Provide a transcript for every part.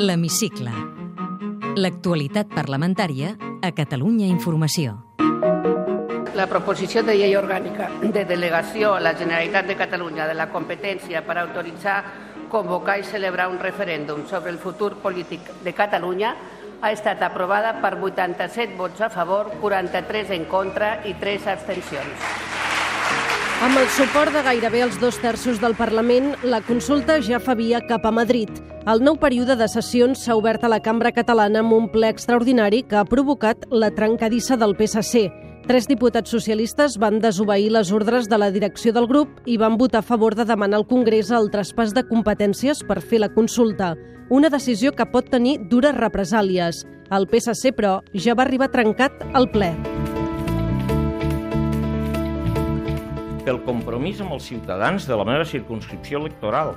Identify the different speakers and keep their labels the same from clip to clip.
Speaker 1: L'Hemicicle. L'actualitat parlamentària a Catalunya Informació.
Speaker 2: La proposició de llei orgànica de delegació a la Generalitat de Catalunya de la competència per autoritzar, convocar i celebrar un referèndum sobre el futur polític de Catalunya ha estat aprovada per 87 vots a favor, 43 en contra i 3 abstencions.
Speaker 3: Amb el suport de gairebé els dos terços del Parlament, la consulta ja fa via cap a Madrid. El nou període de sessions s'ha obert a la cambra catalana amb un ple extraordinari que ha provocat la trencadissa del PSC. Tres diputats socialistes van desobeir les ordres de la direcció del grup i van votar a favor de demanar al Congrés el traspàs de competències per fer la consulta, una decisió que pot tenir dures represàlies. El PSC, però, ja va arribar trencat al ple.
Speaker 4: pel compromís amb els ciutadans de la meva circunscripció electoral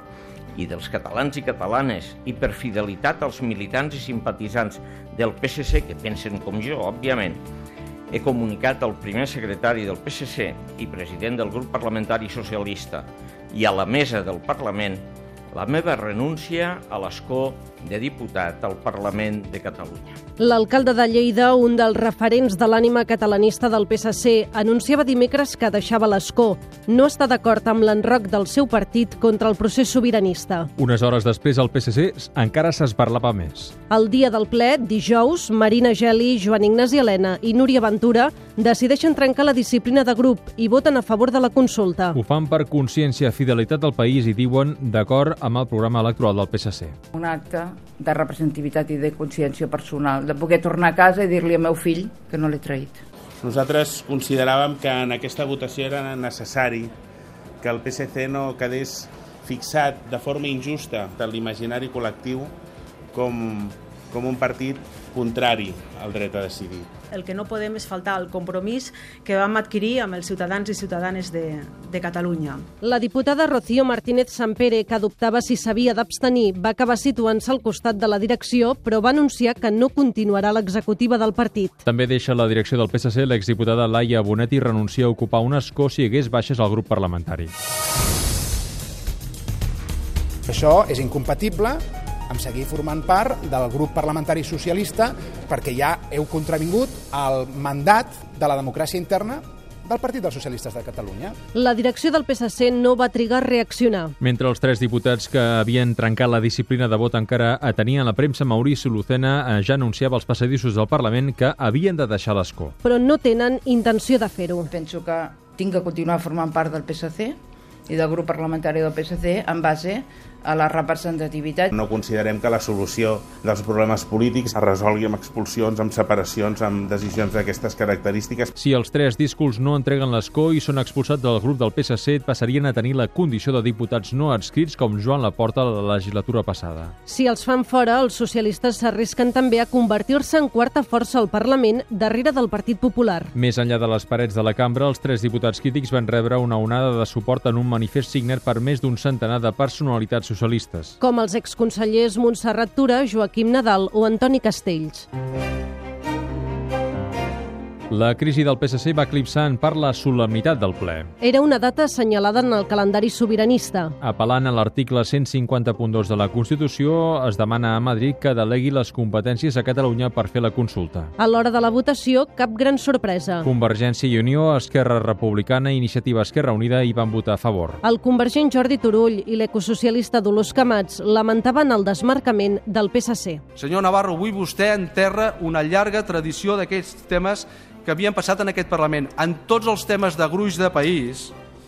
Speaker 4: i dels catalans i catalanes i per fidelitat als militants i simpatitzants del PSC que pensen com jo, òbviament, he comunicat al primer secretari del PSC i president del grup parlamentari socialista i a la mesa del Parlament la meva renúncia a l'escó de diputat al Parlament de Catalunya.
Speaker 3: L'alcalde de Lleida, un dels referents de l'ànima catalanista del PSC, anunciava dimecres que deixava l'escó. No està d'acord amb l'enroc del seu partit contra el procés sobiranista.
Speaker 5: Unes hores després, el PSC encara s'esbarlava més.
Speaker 3: El dia del ple, dijous, Marina Geli, Joan Ignasi Helena i Núria Ventura decideixen trencar la disciplina de grup i voten a favor de la consulta.
Speaker 5: Ho fan per consciència i fidelitat del país i diuen d'acord amb el programa electoral del PSC.
Speaker 6: Un acte de representativitat i de consciència personal, de poder tornar a casa i dir-li al meu fill que no l'he traït.
Speaker 7: Nosaltres consideràvem que en aquesta votació era necessari que el PSC no quedés fixat de forma injusta de l'imaginari col·lectiu com, com un partit contrari al dret a decidir.
Speaker 8: El que no podem és faltar al compromís que vam adquirir amb els ciutadans i ciutadanes de, de Catalunya.
Speaker 3: La diputada Rocío Martínez Sampere, que dubtava si s'havia d'abstenir, va acabar situant-se al costat de la direcció, però va anunciar que no continuarà l'executiva del partit.
Speaker 5: També deixa la direcció del PSC l'exdiputada Laia Bonetti renuncia a ocupar un escó si hi hagués baixes al grup parlamentari.
Speaker 9: Això és incompatible amb seguir formant part del grup parlamentari socialista perquè ja heu contravingut el mandat de la democràcia interna del Partit dels Socialistes de Catalunya.
Speaker 3: La direcció del PSC no va trigar a reaccionar.
Speaker 5: Mentre els tres diputats que havien trencat la disciplina de vot encara atenien la premsa, Maurici Lucena eh, ja anunciava als passadissos del Parlament que havien de deixar l'escó.
Speaker 3: Però no tenen intenció de fer-ho.
Speaker 6: Penso que tinc que continuar formant part del PSC i del grup parlamentari del PSC en base a la representativitat.
Speaker 7: No considerem que la solució dels problemes polítics es resolgui amb expulsions, amb separacions, amb decisions d'aquestes característiques.
Speaker 5: Si els tres discurs no entreguen l'escó i són expulsats del grup del PSC, passarien a tenir la condició de diputats no adscrits com Joan Laporta a la legislatura passada.
Speaker 3: Si els fan fora, els socialistes s'arrisquen també a convertir-se en quarta força al Parlament darrere del Partit Popular.
Speaker 5: Més enllà de les parets de la cambra, els tres diputats crítics van rebre una onada de suport en un manifest signat per més d'un centenar de personalitats socialistes.
Speaker 3: Com els exconsellers Montserrat Tura, Joaquim Nadal o Antoni Castells.
Speaker 5: La crisi del PSC va eclipsant per la solemnitat del ple.
Speaker 3: Era una data assenyalada en el calendari sobiranista.
Speaker 5: Apel·lant a l'article 150.2 de la Constitució, es demana a Madrid que delegui les competències a Catalunya per fer la consulta.
Speaker 3: A l'hora de la votació, cap gran sorpresa.
Speaker 5: Convergència i Unió, Esquerra Republicana i Iniciativa Esquerra Unida hi van votar a favor.
Speaker 3: El convergent Jordi Turull i l'ecosocialista Dolors Camats lamentaven el desmarcament del PSC.
Speaker 10: Senyor Navarro, avui vostè enterra una llarga tradició d'aquests temes que havien passat en aquest Parlament en tots els temes de gruix de país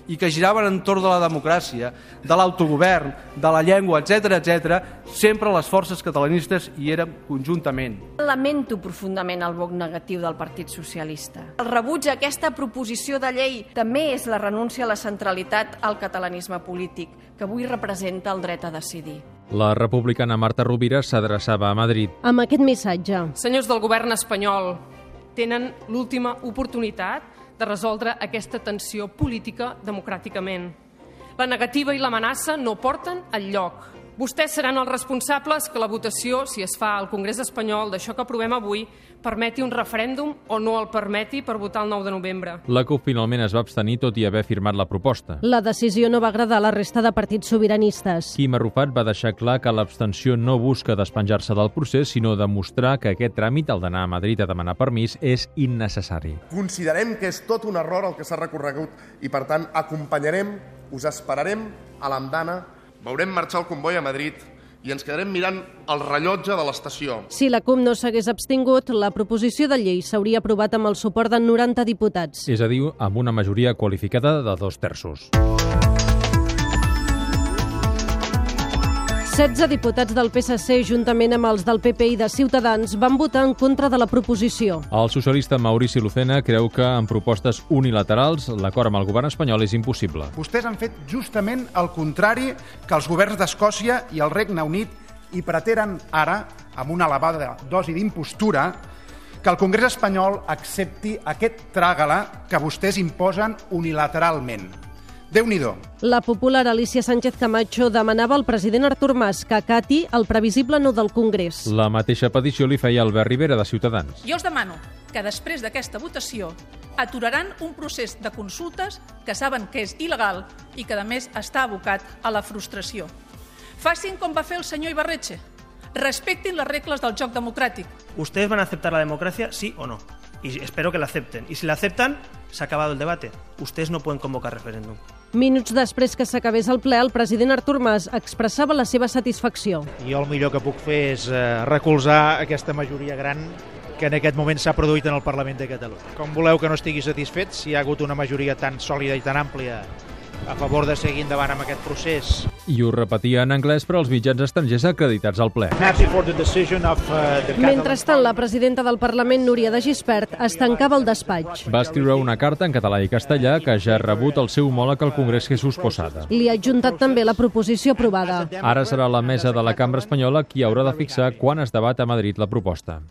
Speaker 10: i que giraven entorn de la democràcia, de l'autogovern, de la llengua, etc etc, sempre les forces catalanistes hi érem conjuntament.
Speaker 11: Lamento profundament el vot negatiu del Partit Socialista. El rebuig a aquesta proposició de llei també és la renúncia a la centralitat al catalanisme polític, que avui representa el dret a decidir.
Speaker 5: La republicana Marta Rovira s'adreçava a Madrid.
Speaker 3: Amb aquest missatge.
Speaker 12: Senyors del govern espanyol, tenen l'última oportunitat de resoldre aquesta tensió política democràticament. La negativa i l'amenaça no porten al lloc. Vostès seran els responsables que la votació, si es fa al Congrés espanyol, d'això que aprovem avui, permeti un referèndum o no el permeti per votar el 9 de novembre.
Speaker 5: La CUP finalment es va abstenir tot i haver firmat la proposta.
Speaker 3: La decisió no va agradar a la resta de partits sobiranistes.
Speaker 5: Quim Arrufat va deixar clar que l'abstenció no busca despenjar-se del procés, sinó demostrar que aquest tràmit, el d'anar a Madrid a demanar permís, és innecessari.
Speaker 13: Considerem que és tot un error el que s'ha recorregut i, per tant, acompanyarem, us esperarem a l'andana, veurem marxar el comboi a Madrid i ens quedarem mirant el rellotge de l'estació.
Speaker 3: Si la CUP no s'hagués abstingut, la proposició de llei s'hauria aprovat amb el suport de 90 diputats.
Speaker 5: És a dir, amb una majoria qualificada de dos terços.
Speaker 3: 16 diputats del PSC, juntament amb els del PP i de Ciutadans, van votar en contra de la proposició.
Speaker 5: El socialista Maurici Lucena creu que amb propostes unilaterals l'acord amb el govern espanyol és impossible.
Speaker 14: Vostès han fet justament el contrari que els governs d'Escòcia i el Regne Unit i pretenen ara, amb una elevada dosi d'impostura, que el Congrés espanyol accepti aquest tràgala que vostès imposen unilateralment déu nhi
Speaker 3: La popular Alicia Sánchez Camacho demanava al president Artur Mas que acati el previsible no del Congrés.
Speaker 5: La mateixa petició li feia Albert Rivera de Ciutadans.
Speaker 15: Jo els demano que després d'aquesta votació aturaran un procés de consultes que saben que és il·legal i que, a més, està abocat a la frustració. Facin com va fer el senyor Ibarretxe. Respectin les regles del joc democràtic.
Speaker 16: ¿Ustedes van a aceptar la democracia, sí o no? Y espero que la acepten. Y si la aceptan, se ha acabado el debate. Ustedes no pueden convocar referéndum.
Speaker 3: Minuts després que s'acabés el ple, el president Artur Mas expressava la seva satisfacció.
Speaker 17: Jo el millor que puc fer és eh, recolzar aquesta majoria gran que en aquest moment s'ha produït en el Parlament de Catalunya. Com voleu que no estigui satisfet si hi ha hagut una majoria tan sòlida i tan àmplia a favor de seguir endavant amb aquest procés?
Speaker 5: I ho repetia en anglès per als mitjans estrangers acreditats al ple.
Speaker 17: Happy for the decision of, uh, the Catalan...
Speaker 3: Mentrestant, la presidenta del Parlament, Núria de Gispert, es tancava al despatx.
Speaker 5: Va escriure una carta en català i castellà que ja ha rebut el seu homòleg al Congrés Jesús Posada.
Speaker 3: Li ha adjuntat també la proposició aprovada.
Speaker 5: Ara serà la mesa de la cambra espanyola qui haurà de fixar quan es debat a Madrid la proposta.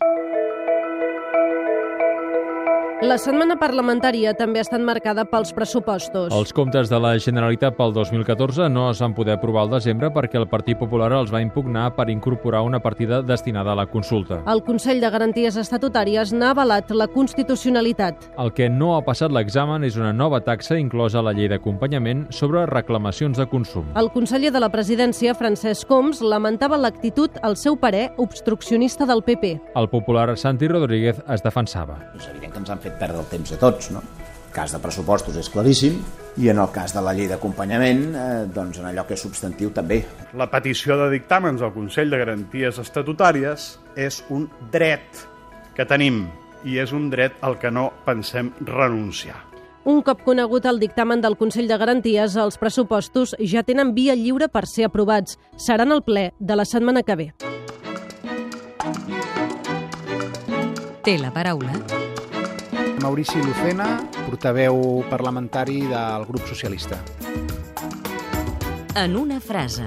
Speaker 3: La setmana parlamentària també ha estat marcada pels pressupostos.
Speaker 5: Els comptes de la Generalitat pel 2014 no es van poder aprovar al desembre perquè el Partit Popular els va impugnar per incorporar una partida destinada a la consulta.
Speaker 3: El Consell de Garanties Estatutàries n'ha avalat la constitucionalitat.
Speaker 5: El que no ha passat l'examen és una nova taxa inclosa a la llei d'acompanyament sobre reclamacions de consum.
Speaker 3: El conseller de la presidència, Francesc Coms, lamentava l'actitud, al seu parer, obstruccionista del PP.
Speaker 5: El popular Santi Rodríguez es defensava.
Speaker 18: És evident que ens han fet perdre el temps a tots, no? El cas de pressupostos és claríssim i en el cas de la llei d'acompanyament, eh, doncs en allò que és substantiu també.
Speaker 19: La petició de dictàmens al Consell de Garanties Estatutàries és un dret que tenim i és un dret al que no pensem renunciar.
Speaker 3: Un cop conegut el dictamen del Consell de Garanties, els pressupostos ja tenen via lliure per ser aprovats. Seran el ple de la setmana que ve.
Speaker 1: Té la paraula
Speaker 14: Maurici Lucena, portaveu parlamentari del grup socialista.
Speaker 1: En una frase.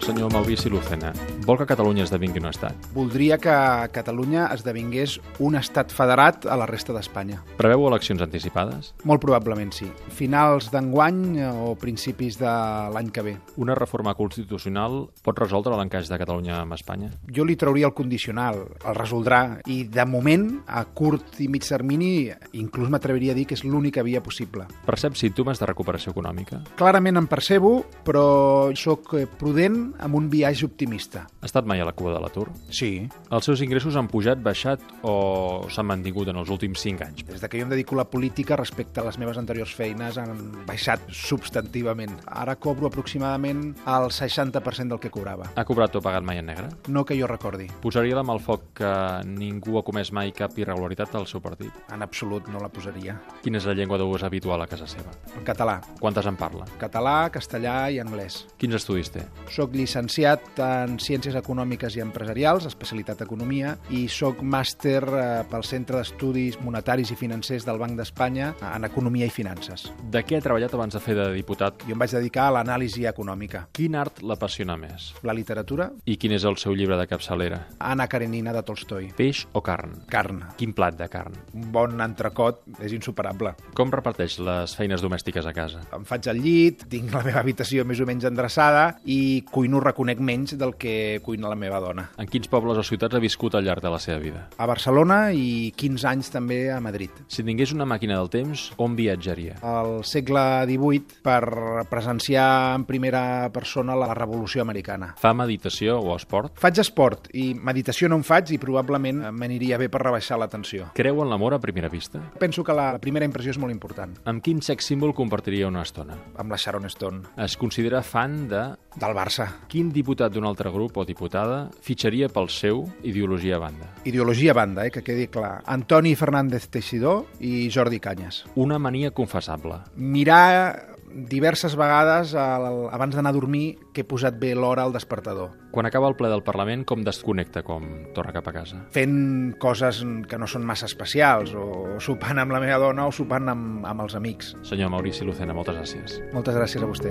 Speaker 5: Senyor Maurici Lucena, vol que Catalunya esdevingui un estat?
Speaker 14: Voldria que Catalunya esdevingués un estat federat a la resta d'Espanya.
Speaker 5: Preveu eleccions anticipades?
Speaker 14: Molt probablement sí. Finals d'enguany o principis de l'any que ve.
Speaker 5: Una reforma constitucional pot resoldre l'encaix de Catalunya amb Espanya?
Speaker 14: Jo li trauria el condicional, el resoldrà. I de moment, a curt i mig termini, inclús m'atreviria a dir que és l'única via possible.
Speaker 5: Percep símptomes de recuperació econòmica?
Speaker 14: Clarament en percebo, però sóc prudent amb un viatge optimista.
Speaker 5: Ha estat mai a la cua de l'atur?
Speaker 14: Sí.
Speaker 5: Els seus ingressos han pujat, baixat o s'han mantingut en els últims 5 anys?
Speaker 14: Des que jo em dedico a la política respecte a les meves anteriors feines han baixat substantivament. Ara cobro aproximadament el 60% del que cobrava.
Speaker 5: Ha cobrat o pagat mai en negre?
Speaker 14: No que jo recordi.
Speaker 5: Posaria la mà al foc que ningú ha comès mai cap irregularitat al seu partit?
Speaker 14: En absolut no la posaria.
Speaker 5: Quina és la llengua d'ús habitual a casa seva?
Speaker 14: El català.
Speaker 5: Quantes en parla?
Speaker 14: Català, castellà i anglès.
Speaker 5: Quins estudis té?
Speaker 14: Soc llicenciat en Ciències Econòmiques i Empresarials, especialitat Economia, i sóc màster eh, pel Centre d'Estudis Monetaris i Financers del Banc d'Espanya en Economia i Finances.
Speaker 5: De què ha treballat abans de fer de diputat?
Speaker 14: Jo em vaig dedicar a l'anàlisi econòmica.
Speaker 5: Quin art l'apassiona més?
Speaker 14: La literatura.
Speaker 5: I quin és el seu llibre de capçalera?
Speaker 14: Anna Karenina de Tolstoi.
Speaker 5: Peix o carn?
Speaker 14: Carn.
Speaker 5: Quin plat de carn?
Speaker 14: Un bon entrecot és insuperable.
Speaker 5: Com reparteix les feines domèstiques a casa?
Speaker 14: Em faig el llit, tinc la meva habitació més o menys endreçada i cuino cuino reconec menys del que cuina la meva dona.
Speaker 5: En quins pobles o ciutats ha viscut al llarg de la seva vida?
Speaker 14: A Barcelona i 15 anys també a Madrid.
Speaker 5: Si tingués una màquina del temps, on viatjaria?
Speaker 14: Al segle XVIII per presenciar en primera persona la Revolució Americana.
Speaker 5: Fa meditació o esport?
Speaker 14: Faig esport i meditació no en faig i probablement eh, m'aniria bé per rebaixar la tensió.
Speaker 5: Creu en l'amor a primera vista?
Speaker 14: Penso que la primera impressió és molt important.
Speaker 5: Amb quin sex símbol compartiria una estona?
Speaker 14: Amb la Sharon Stone.
Speaker 5: Es considera fan de...
Speaker 14: Del Barça.
Speaker 5: Quin diputat d'un altre grup o diputada fitxaria pel seu ideologia a banda?
Speaker 14: Ideologia a banda, eh, que quedi clar. Antoni Fernández Teixidor i Jordi Canyes.
Speaker 5: Una mania confessable.
Speaker 14: Mirar diverses vegades al, abans d'anar a dormir que he posat bé l'hora al despertador.
Speaker 5: Quan acaba el ple del Parlament, com desconnecta, com torna cap a casa?
Speaker 14: Fent coses que no són massa especials, o sopant amb la meva dona o sopant amb, amb els amics.
Speaker 5: Senyor Maurici Lucena, moltes gràcies.
Speaker 14: Moltes gràcies a vostè.